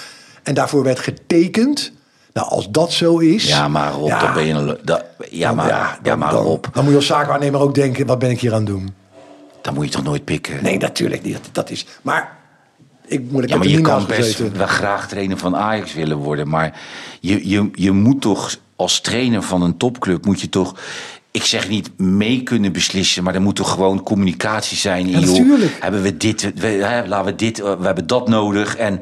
En daarvoor werd getekend. Nou, als dat zo is... Ja, maar Rob, Ja. dan ben je een... le- da- ja, maar, ja, dan- maar dan, Rob, Dan moet je als zaakwaarnemer ook denken, wat ben ik hier aan het doen? dan moet je toch nooit pikken? Nee, natuurlijk niet. Dat, dat is... Maar ik moet ik Ja, maar heb er je niet kan naast best gezeten. wel graag trainer van Ajax willen worden. Maar je, je, je moet toch als trainer van een topclub... moet je toch, ik zeg niet mee kunnen beslissen... maar er moet toch gewoon communicatie zijn. in, joh, natuurlijk. hebben we dit, we, hè, laten we dit, eh, we hebben dat nodig. En,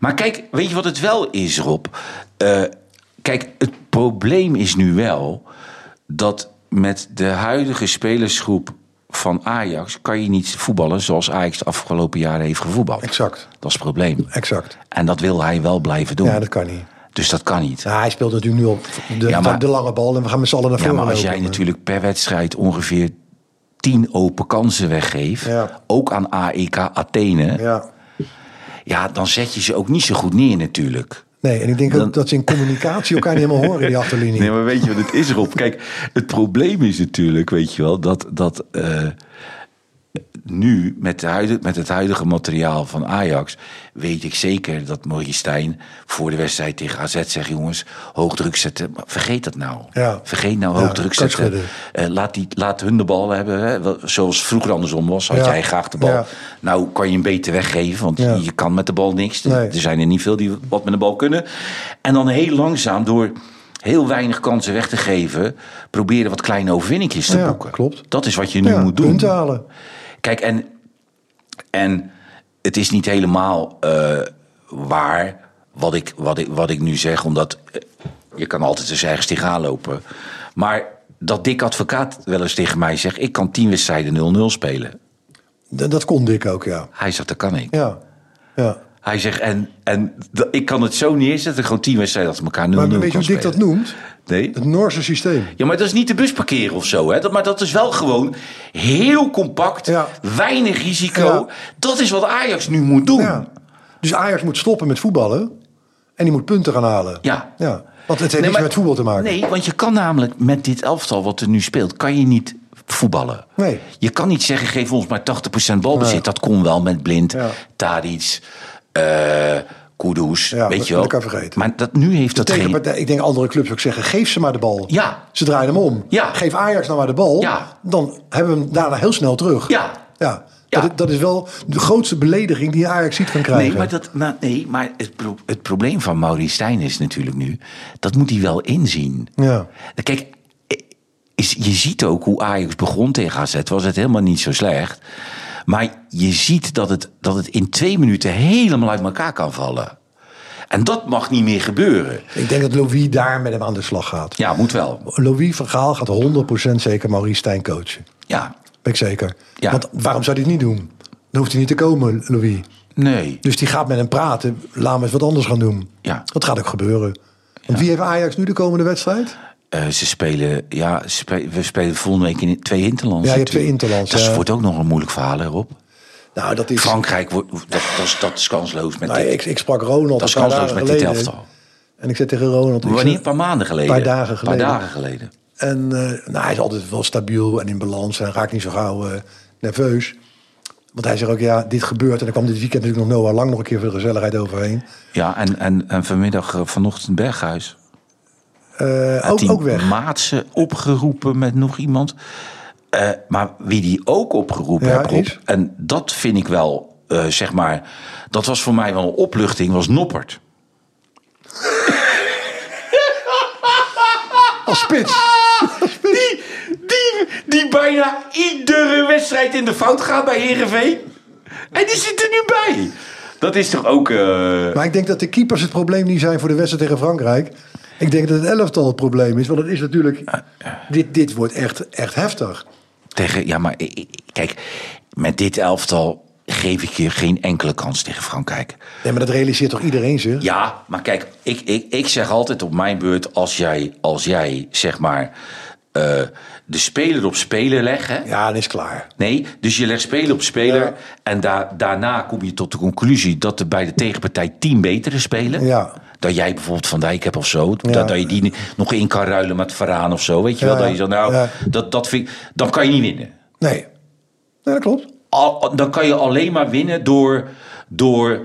maar kijk, weet je wat het wel is, Rob? Eh, kijk, het probleem is nu wel dat met de huidige spelersgroep van Ajax kan je niet voetballen zoals Ajax de afgelopen jaren heeft gevoetbald. Exact. Dat is het probleem. Exact. En dat wil hij wel blijven doen. Ja, dat kan niet. Dus dat kan niet. Nou, hij speelt natuurlijk nu al de, Ja, maar- de lange bal en we gaan met z'n allen naar Ja, voren maar als lopen. jij natuurlijk per wedstrijd ongeveer 10 open kansen weggeeft, Ja. ook aan AEK Athene, ja. Ja. dan zet je ze ook niet zo goed neer natuurlijk. Nee, en ik denk Dan- ook dat ze in communicatie elkaar niet helemaal horen, die achterlinie. Nee, maar weet je wat het is, Rob? Kijk, het probleem is natuurlijk, weet je wel, dat, dat eh, nu met, de huidige, met het huidige materiaal van Ajax... weet ik zeker dat Maurice Stijn voor de wedstrijd tegen AZ zegt... jongens, hoog druk zetten, Maar vergeet dat nou. Ja. Vergeet nou Ja, hoog druk kan zetten. schudden. Eh, laat, die, laat hun de bal hebben, hè? Wel, zoals vroeger andersom was. Had Ja. jij graag de bal. Ja. Nou kan je hem beter weggeven, want Ja. je kan met de bal niks. Er- Nee. Er zijn er niet veel die wat met de bal kunnen. En dan heel langzaam, door heel weinig kansen weg te geven... proberen wat kleine overwinningjes te Ja, boeken. klopt. Dat is wat je nu Ja, moet doen. punten halen. Kijk, en, en het is niet helemaal eh, waar wat ik, wat, ik, wat ik nu zeg, omdat eh, je kan altijd eens ergens tegenaan lopen. Maar dat Dick Advocaat wel eens tegen mij zegt: ik kan tien wedstrijden 0-0 spelen. D- dat kon Dick ook, ja. Hij zegt: dat kan ik. Ja. ja. Hij zegt: en, en d- ik kan het zo neerzetten, gewoon tien wedstrijden achter elkaar 0-0 Maar weet kan je hoe Dick dat spelen." noemt? Nee? Het Noorse systeem. Ja, maar dat is niet de bus parkeren of zo. Hè? Dat, maar dat is wel gewoon heel compact, Ja. weinig risico. Ja. Dat is wat Ajax nu moet doen. Ja. Dus Ajax moet stoppen met voetballen en die moet punten gaan halen. Ja. ja. Want het heeft niks maar- met voetbal te maken. Nee, want je kan namelijk met dit elftal wat er nu speelt, kan je niet voetballen. Nee. Je kan niet zeggen, geef ons maar 80% balbezit. Nee. Dat kon wel met Blind, Ja. Tadic, eh Kudus, Ja, weet dat je wil wel. ik even vergeten. Maar dat, nu heeft dat geen... Tegenpartij, ik denk andere clubs ook zeggen, geef ze maar de bal. Ja. Ze draaien hem om. Ja. Geef Ajax nou maar de bal. Ja. Dan hebben we hem daarna heel snel terug. Ja. ja. Ja. Dat, dat is wel de grootste belediging die Ajax ziet kan krijgen. Nee, maar, dat, maar, nee, maar het, pro- het probleem van Maurice Stijn is natuurlijk nu... dat moet hij wel inzien. Ja. Kijk, eh, is, je ziet ook hoe Ajax begon tegen AZ. Was het helemaal niet zo slecht. Maar je ziet dat het, dat het in twee minuten helemaal uit elkaar kan vallen. En dat mag niet meer gebeuren. Ik denk dat Louis daar met hem aan de slag gaat. Ja, moet wel. Louis van Gaal gaat 100% zeker Maurice Stijn coachen. Ja, Ben ik zeker. Ja. Want waarom zou hij het niet doen? Dan hoeft hij niet te komen, Louis. nee. Dus die gaat met hem praten. Laat me eens wat anders gaan doen. Ja. Dat gaat ook gebeuren. Want wie heeft Ajax nu de komende wedstrijd? Eh, ze spelen, ja, ze spe- we spelen volgende week in twee interlands. Ja, je hebt twee natuurlijk. interlands, Dat ja. wordt ook nog een moeilijk verhaal, hè, Rob. Nou, dat is... Frankrijk, wordt, dat, dat, is, dat is kansloos met Nou, dit. ik, ik sprak Ronald Dat is een paar kansloos dagen met dit geleden. elftal. En ik zei tegen Ronald... ik Wanneer? Een zeg- paar maanden geleden. Paar dagen geleden. Paar dagen geleden. En eh, nou, hij is altijd wel stabiel en in balans. En raakt niet zo gauw eh, nerveus. Want hij zegt ook, ja, dit gebeurt. En dan kwam dit weekend natuurlijk nog Noah Lang nog een keer voor de gezelligheid overheen. Ja, en, en, en vanmiddag, eh, vanochtend Berghuis. Eh, Had ook, die ook weg. Maatsen opgeroepen met nog iemand. Eh, maar wie die ook opgeroepen Ja, heeft, Rob, is? en dat vind ik wel, eh, zeg maar... Dat was voor mij wel een opluchting, was Noppert. Als spits. Die, die, die bijna iedere wedstrijd in de fout gaat bij Heerenveen. En die zit er nu bij. Dat is toch ook... eh, Maar ik denk dat de keepers het probleem niet zijn voor de wedstrijd tegen Frankrijk. Ik denk dat het elftal het probleem is. Want het is natuurlijk... Dit, dit wordt echt, echt heftig. eh, Tegen, ja, maar ik- ik- kijk, met dit elftal geef ik je geen enkele kans tegen Frankrijk. Nee, maar dat realiseert toch iedereen zich? Ja, maar kijk, ik, ik, ik zeg altijd op mijn beurt: als jij, als jij zeg maar eh, de speler op speler legt. Hè? Ja, dat is klaar. Nee, dus je legt speler op speler. Ja. En daar- daarna kom je tot de conclusie dat er bij de tegenpartij tien betere spelen. Ja. Dat jij bijvoorbeeld Van Dijk hebt of zo. Ja. Dat, dat je die ni- nog in kan ruilen met Varaan of zo. Weet je Ja, wel? Dat ja. je zegt, nou, Ja. dat, dat vind, ik- dan kan je niet winnen. Nee. Nee, dat klopt. Al- dan kan je alleen maar winnen door, door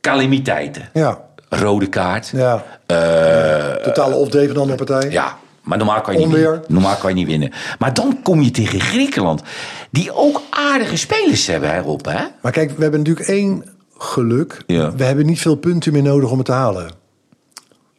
calamiteiten. Ja. Rode kaart. ja. Totale opdreven dan de partij. Eh, Ja, maar normaal kan, je niet Onweer. winnen. normaal kan je niet winnen. Maar dan kom je tegen Griekenland. Die ook aardige spelers hebben, hè, Rob? Hè? Maar kijk, we hebben natuurlijk één geluk. Ja. We hebben niet veel punten meer nodig om het te halen.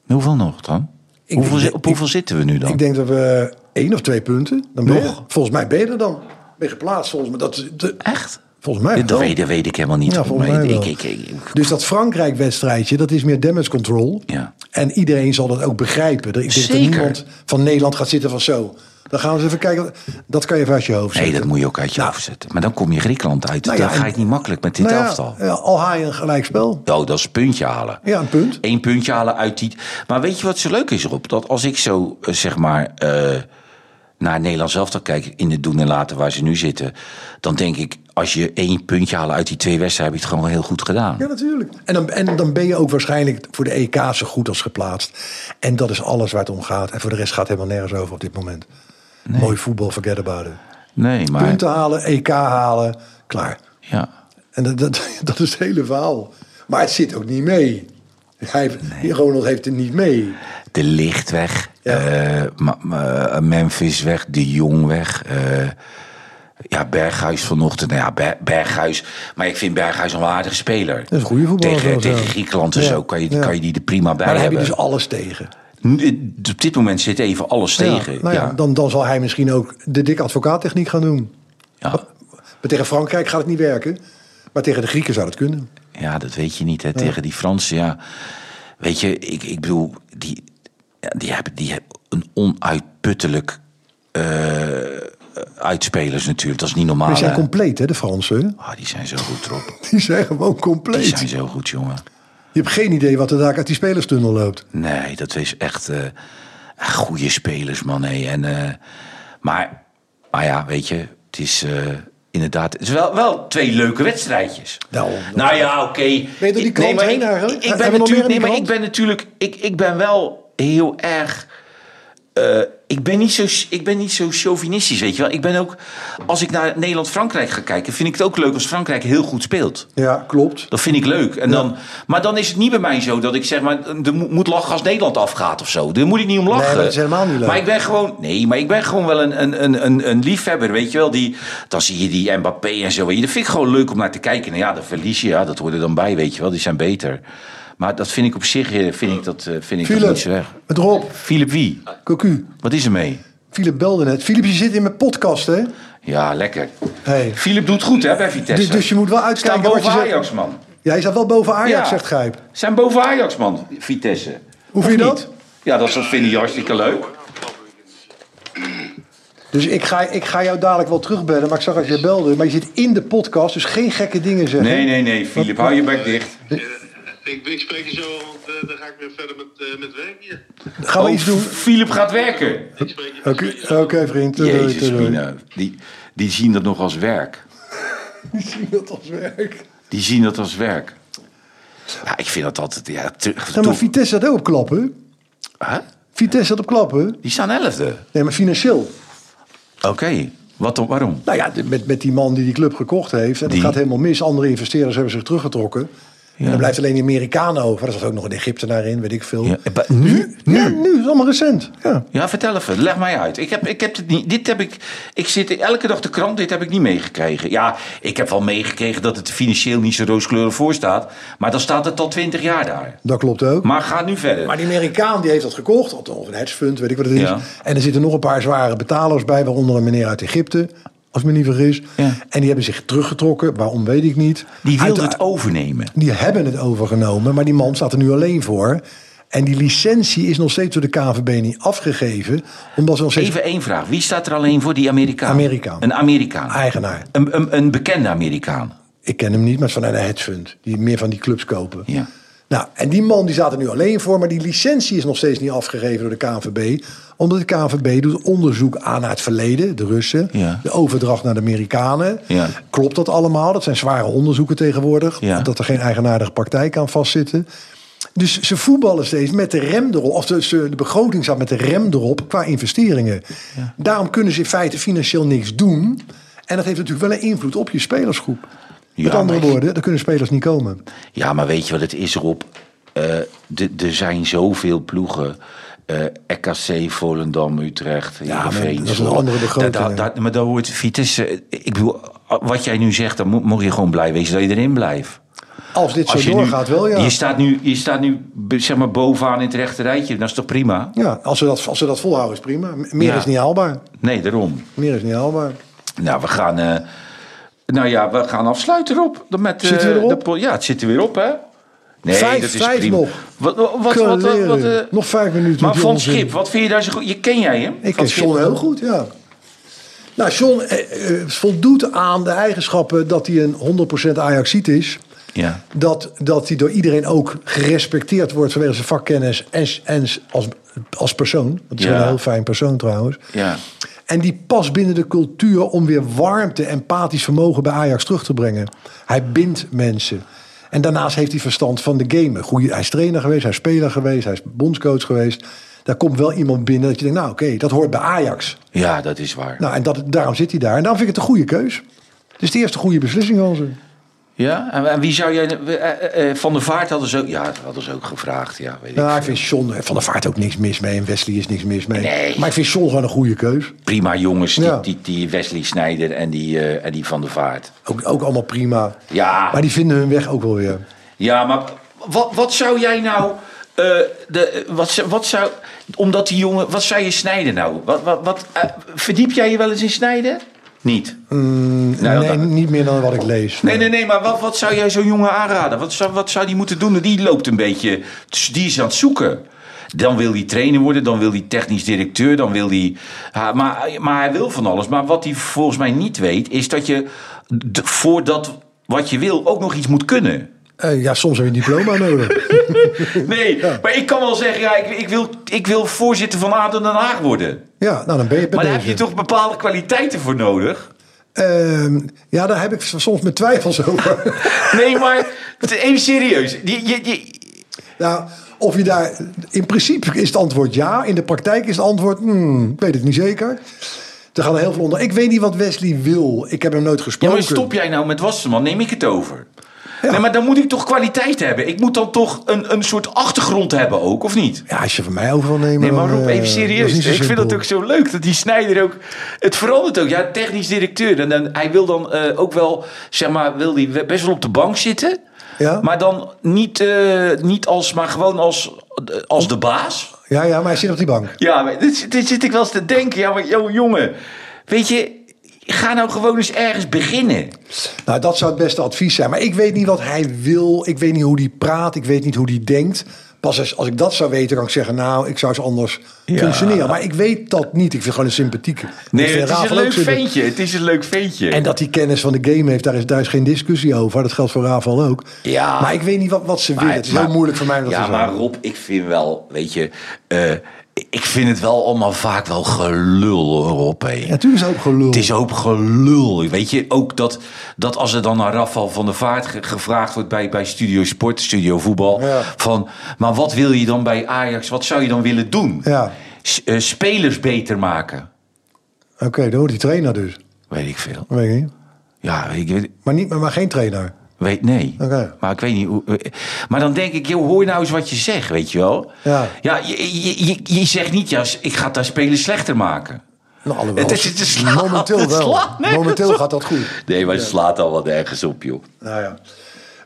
Hoeveel nog dan? Ik- hoeveel, zi- ik- op hoeveel zitten we nu dan? Ik denk dat we één of twee punten. Dan ben je- Nog? volgens mij ben je er dan. Ben je geplaatst volgens mij. Dat, is- de- Echt? volgens mij. Dat, wel. weet, dat weet ik helemaal niet. Ja, goed, volgens maar mij ik- wel. ik- ik- ik- Dus dat Frankrijk-wedstrijdje, dat is meer damage control. Ja. En iedereen zal dat ook begrijpen. Er- Ik denk dat Zeker. niemand van Nederland gaat zitten van zo. Dan gaan we eens even kijken. Dat kan je even uit je hoofd nee, zetten. dat moet je ook uit je hoofd zetten. Maar dan kom je Griekenland uit. Nou dan ja, ga en- je het niet makkelijk met dit Nou ja, elftal. ja, al haal je een gelijkspel. Nou, dat is een puntje halen. Ja, een punt. Eén puntje halen uit die. Maar weet je wat zo leuk is, Rob? Dat als ik zo, eh, zeg maar, eh, naar Nederland zelf dan kijk, in het doen en laten waar ze nu zitten. Dan denk ik, als je één puntje halen uit die twee wedstrijden, heb je het gewoon heel goed gedaan. Ja, natuurlijk. En dan, en dan ben je ook waarschijnlijk voor de EK zo goed als geplaatst. En dat is alles waar het om gaat. En voor de rest gaat het helemaal nergens over op dit moment. Mooi voetbal, forget about it. Nee, maar. Punten halen, EK halen, klaar. Ja. En dat, dat, dat is het hele verhaal. Maar het zit ook niet mee. Hij, Ronald heeft het niet mee. De licht weg. Ja. eh, Ma- Ma- eh, Memphis weg. De Jong weg. eh, ja, Berghuis vanochtend. Nou ja, Ber- Berghuis. Maar ik vind Berghuis een wel aardige speler. is een goede voetballer Tegen, zelfs, ja. tegen Griekenland en Ja, zo kan je, die- ja. kan je die er prima bij Maar daar heb je hebben. dus alles tegen. Nu, Op dit moment zit even alles tegen. nou ja, ja. Dan, dan zal hij misschien ook de dikke advocaattechniek gaan doen. Ja. Maar tegen Frankrijk gaat het niet werken. Maar tegen de Grieken zou het kunnen. Ja, dat weet je niet. Hè. Tegen die Fransen, ja. Weet je, ik, ik bedoel, die, ja, die, hebben, die hebben een onuitputtelijk eh, uitspelers natuurlijk. Dat is niet normaal. Maar die zijn hè. compleet, hè, de Fransen. Ah, die zijn zo goed, Rob. Die zijn gewoon Die compleet. zijn zo goed, jongen. Je hebt geen idee wat er daar uit die spelerstunnel loopt. Nee, dat is echt eh goede spelers, man. hé. En, eh, maar, maar ja, weet je, het is eh, inderdaad... Het is wel, wel twee leuke wedstrijdjes. Daarom. nou ja, oké. Ben je door die Ik- krant maar heen ik- Ik, eigenlijk? ik, Hebben ben we nog meer in natuurlijk, nee, die maar ik krant? ben natuurlijk... Ik, ik ben wel heel erg... eh, ik, ben niet zo, ik ben niet zo chauvinistisch, weet je wel. Ik ben ook... Als ik naar Nederland-Frankrijk ga kijken... vind ik het ook leuk als Frankrijk heel goed speelt. Ja, klopt. Dat vind ik leuk. En dan, maar dan is het niet bij mij zo dat ik zeg maar, er mo- moet lachen als Nederland afgaat of zo. Daar moet ik niet om lachen. Nee, maar dat is helemaal niet leuk. Maar ik ben gewoon, nee, maar ik ben gewoon wel een, een, een, een, een liefhebber, weet je wel. Die, dan zie je die Mbappé en zo. weet je. Dat vind ik gewoon leuk om naar te kijken. En ja, dat verlies je, ja, dat hoort er dan bij, weet je wel. Die zijn beter. Maar dat vind ik op zich, eh, vind ik dat, eh, vind ik dat niet Philip, zo erg. met Rob, Philip wie? Cocu. Wat is er mee? Philip belde net. Philip, je zit in mijn podcast, hè? Ja, lekker. Hey. Philip doet goed, hè, bij Vitesse. Dus, dus je moet wel Staan uitkijken wat je boven zegt. Ajax, man. Ja, je staat wel boven Ajax, Ja. zegt Gijp. Zijn boven Ajax, man, Vitesse. Hoe Of vind je niet? dat? Ja, dat soort vind ik hartstikke leuk. Dus ik ga, ik ga jou dadelijk wel terugbellen. Maar ik zag dat je belde. Maar je zit in de podcast, dus geen gekke dingen zeggen. Nee, nee, nee, Filip, hou je bek dicht. Ik, ik spreek je zo, want eh, dan ga ik weer verder met, eh, met werk hier. Gaan we Oh, iets doen? Filip gaat werken. Ik spreek je. ik Oké, spreek je zo. oké, vriend. Doei, doei, Jezus, doei. Mina, die, die zien dat nog als werk. Ik zie dat als werk. Die zien dat als werk. Ja, ik vind dat altijd... Ja, te- Nou, maar toe- Vitesse had ook op klappen. Hè? Vitesse had op klappen. Die staan elfde. Nee, maar financieel. Oké, wat dan, waarom? Nou ja, de- met, met die man die die club gekocht heeft. En dat Die? gaat helemaal mis. Andere investeerders hebben zich teruggetrokken. En dan blijft alleen die Amerikanen over. Er zat ook nog een Egyptenaar in, weet ik veel. Ja, eh, ba- nu? Nu? Ja, nu. is allemaal recent. Ja. Ja, vertel even. Leg mij uit. Ik heb, ik heb dit niet. Dit heb ik. Ik zit elke dag de krant. Dit heb ik niet meegekregen. Ja, ik heb wel meegekregen dat het financieel niet zo rooskleurig voor staat. Maar dan staat het al twintig jaar daar. Dat klopt ook. Maar ga nu verder. Maar die Amerikaan die heeft dat gekocht, of een hedge fund, weet ik wat het is. Ja. En er zitten nog een paar zware betalers bij, waaronder een meneer uit Egypte, als ik me niet vergis. Ja. En die hebben zich teruggetrokken, waarom weet ik niet. die wil Uitera- het overnemen. Die hebben het overgenomen, maar die man staat er nu alleen voor. En die licentie is nog steeds door de KVB niet afgegeven, omdat ze nog steeds Even één vraag. Wie staat er alleen voor die Amerikaan? Amerikaan. Een Amerikaan. eigenaar. Een, een, een bekende Amerikaan. Ik ken hem niet, maar het is van een hedgefund. Die meer van die clubs kopen. Ja. Nou, en die man die staat er nu alleen voor, maar die licentie is nog steeds niet afgegeven door de KNVB. Omdat de KNVB doet onderzoek aan naar het verleden, de Russen, Ja. de overdracht naar de Amerikanen. Ja. Klopt dat allemaal? Dat zijn zware onderzoeken tegenwoordig, Ja. dat er geen eigenaardige praktijk aan vastzitten. Dus ze voetballen steeds met de rem erop, of de, ze- de begroting staat met de rem erop qua investeringen. Daarom kunnen ze in feite financieel niks doen. En dat heeft natuurlijk wel een invloed op je spelersgroep. Ja, met andere maar- woorden, er kunnen spelers niet komen. Ja, maar weet je wat het is erop? Eh, de- er zijn zoveel ploegen. Eh RKC, Volendam, Utrecht, Heerenveen, maar dat is een Zwolle. andere begroting, Da- da- da- maar daar hoort Vitesse... eh, Ik bedoel, wat jij nu zegt, dan mo- moet je gewoon blij wezen dat je erin blijft. Als dit Als zo je nu- doorgaat, wel ja. Je staat nu, je staat nu be- zeg maar, bovenaan in het rechte rijtje. Dat is toch prima? Ja, als ze dat, als ze dat volhouden is prima. M- Meer Ja. is niet haalbaar. Nee, daarom. Meer is niet haalbaar. Nou, we gaan, eh, nou ja, we gaan afsluiten erop. Met, eh, Zitten we erop? de po- ja, het zit er weer op, hè? Nee, Vijf- dat is vijf prima. nog. Wat, wat, wat, wat, wat, Kaleren. eh, Nog vijf minuten. Maar met Van Jonas in. Schip, wat vind je daar zo goed? Je, ken jij hem? Ik Van ken John heel goed, ja. Nou, John eh, eh, voldoet aan de eigenschappen dat hij een 100% Ajaxiet is. Ja. Dat, dat hij door iedereen ook gerespecteerd wordt vanwege zijn vakkennis en, s- en s- als, als persoon. Dat is Ja. een heel fijn persoon trouwens. Ja. En die past binnen de cultuur om weer warmte, empathisch vermogen bij Ajax terug te brengen. Hij bindt mensen. En daarnaast heeft hij verstand van de game. Een goeie- hij is trainer geweest, hij is speler geweest, hij is bondscoach geweest. Daar komt wel iemand binnen dat je denkt, nou oké, dat hoort bij Ajax. ja, dat is waar. Nou, en dat, daarom zit hij daar. En dan vind ik het een goede keus. Het is de eerste goede beslissing van ze. Ja? En, en wie zou jij... eh, eh, van der Vaart hadden ze ook... Ja, dat hadden ze ook gevraagd. Ja, weet ik Nou, ik veel. vind John van der Vaart ook niks mis mee. En Wesley is niks mis mee. Nee. Maar ik vind John gewoon een goede keus. Prima jongens, die, Ja. die, die Wesley Snijder en die, eh, en die Van der Vaart. Ook, ook allemaal prima. Ja. Maar die vinden hun weg ook wel weer. Ja, maar wat, wat zou jij nou... eh, de, eh, wat, zou- wat zou... Omdat die jongen... Wat zou je snijden nou? Wat, wat, wat, eh, verdiep jij je wel eens in snijden? Niet? Nee, Nou, dat- niet meer dan wat ik lees. Nee, nee, nee, maar wat, wat zou jij zo'n jongen aanraden? Wat zou, wat zou die moeten doen? Die loopt een beetje, dus die is aan het zoeken. Dan wil hij trainer worden, dan wil hij technisch directeur, dan wil hij. ha, maar, maar hij wil van alles. Maar wat hij volgens mij niet weet, is dat je d- voor dat wat je wil ook nog iets moet kunnen. Eh, ja, soms heb je een diploma nodig. Nee, maar ik kan wel zeggen, ja, ik, ik, wil, ik wil voorzitter van Aden Den Haag worden. Ja, nou dan ben je bij Maar daar deze. heb je toch bepaalde kwaliteiten voor nodig? Ehm, ja, daar heb ik soms mijn twijfels over. Nee, maar even serieus. Je, je, je, nou, of je daar... In principe is het antwoord ja. In de praktijk is het antwoord... hmm, ik weet het niet zeker. Er gaan er heel veel onder. Ik weet niet wat Wesley wil. Ik heb hem nooit Ja, gesproken. maar stop jij nou met Wasserman, neem ik het over. Nee, maar dan moet ik toch kwaliteit hebben. Ik moet dan toch een, een soort achtergrond hebben ook, of niet? Ja, als je van mij over wil nemen... Nee, maar dan, Rob, eh, even dat serieus. is niet zo Ik vind simpel. het ook zo leuk dat die Snijder ook... Het verandert ook. Ja, technisch directeur. En dan, hij wil dan eh, ook wel, zeg maar, wil die we- best wel op de bank zitten. Ja. Maar dan niet, eh, niet als, maar gewoon als, eh, als de baas. Ja, ja, maar hij zit op die bank. Ja, maar dit, dit zit ik wel eens te denken. Ja, maar joh, jongen. Weet je, ga nou gewoon eens ergens beginnen. Nou, dat zou het beste advies zijn. Maar ik weet niet wat hij wil. Ik weet niet hoe die praat. Ik weet niet hoe die denkt. Pas als, als ik dat zou weten, kan ik zeggen... nou, ik zou eens anders functioneren. Maar ik weet dat niet. Ik vind gewoon een sympathieke. Ik Nee, vind het is Ravel een ook leuk sympathiek. ventje. Het is een leuk ventje. En dat hij kennis van de game heeft, daar is, daar is geen discussie over. Dat geldt voor Rafael ook. Ja. Maar ik weet niet wat, wat ze willen. Het is heel moeilijk voor mij om dat ja, te maar zeggen. Rob, ik vind wel, weet je... eh, ik vind het wel allemaal vaak wel gelul, hoor, Rob. hé. Ja, natuurlijk is het ook gelul. Het is een hoop gelul. Weet je, ook dat, dat als er dan aan Rafal van der Vaart ge- gevraagd wordt bij, bij Studio Sport, Studio Voetbal. Ja. Van, maar wat wil je dan bij Ajax? Wat zou je dan willen doen? Ja. S- eh, spelers beter maken. Oké, dan wordt die trainer dus. Weet ik veel. Dat weet ik niet. Ja, ik weet, Maar, niet, maar, maar geen trainer. Weet, nee. Oké. Maar ik weet niet hoe. eh, Maar dan denk ik, joh, hoor nou eens wat je zegt, weet je wel? Ja. je, je, je, je zegt niet, ja, ik ga daar spelen slechter maken. Nou, alhoewel. Het is- het is slaat- Momenteel het wel. slaat nergens Momenteel op. gaat dat goed. Nee, maar het slaat al wat ergens op, joh. Nou ja.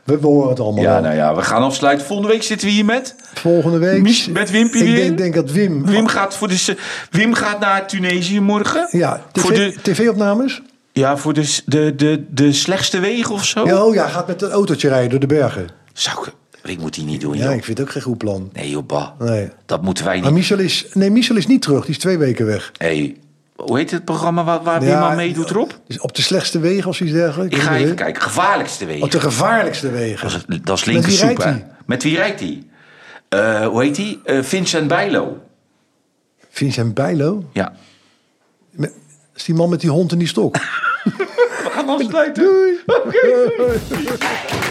We, we horen het allemaal. Ja, wel. nou ja, we gaan afsluiten. Volgende week zitten we hier met. Volgende week. Mies- met Wimpy Ik weer? denk, denk dat Wim. Wim gaat, voor de, se- Wim gaat naar Tunesië morgen. Ja, Voor de, tv-opnames? ja, voor de, s- de, de, de slechtste wegen of zo. Ja, oh ja, gaat met een autootje rijden door de bergen. Zou ik. Ik moet die niet doen, Ja, joh. ik vind het ook geen goed plan. Nee, joh, bah. Nee. Dat moeten wij niet. Maar Michel is, nee, Michel is niet terug. Die is twee weken weg. Hé, Hoe heet het programma waar, waar Weerman meedoet, Rob? Dus op de slechtste wegen of iets dergelijks. Ik ga Weet je, even hè? kijken. Gevaarlijkste wegen. Op de gevaarlijkste wegen. Dat is, dat is linker Oh, Met wie soep, rijdt hè? hij? Met wie rijdt hij? Eh, hoe heet hij? Eh, Vincent Bijlo. Vincent Bijlo. Ja. Met- is die man met die hond en die stok. We gaan afsluiten. Doei.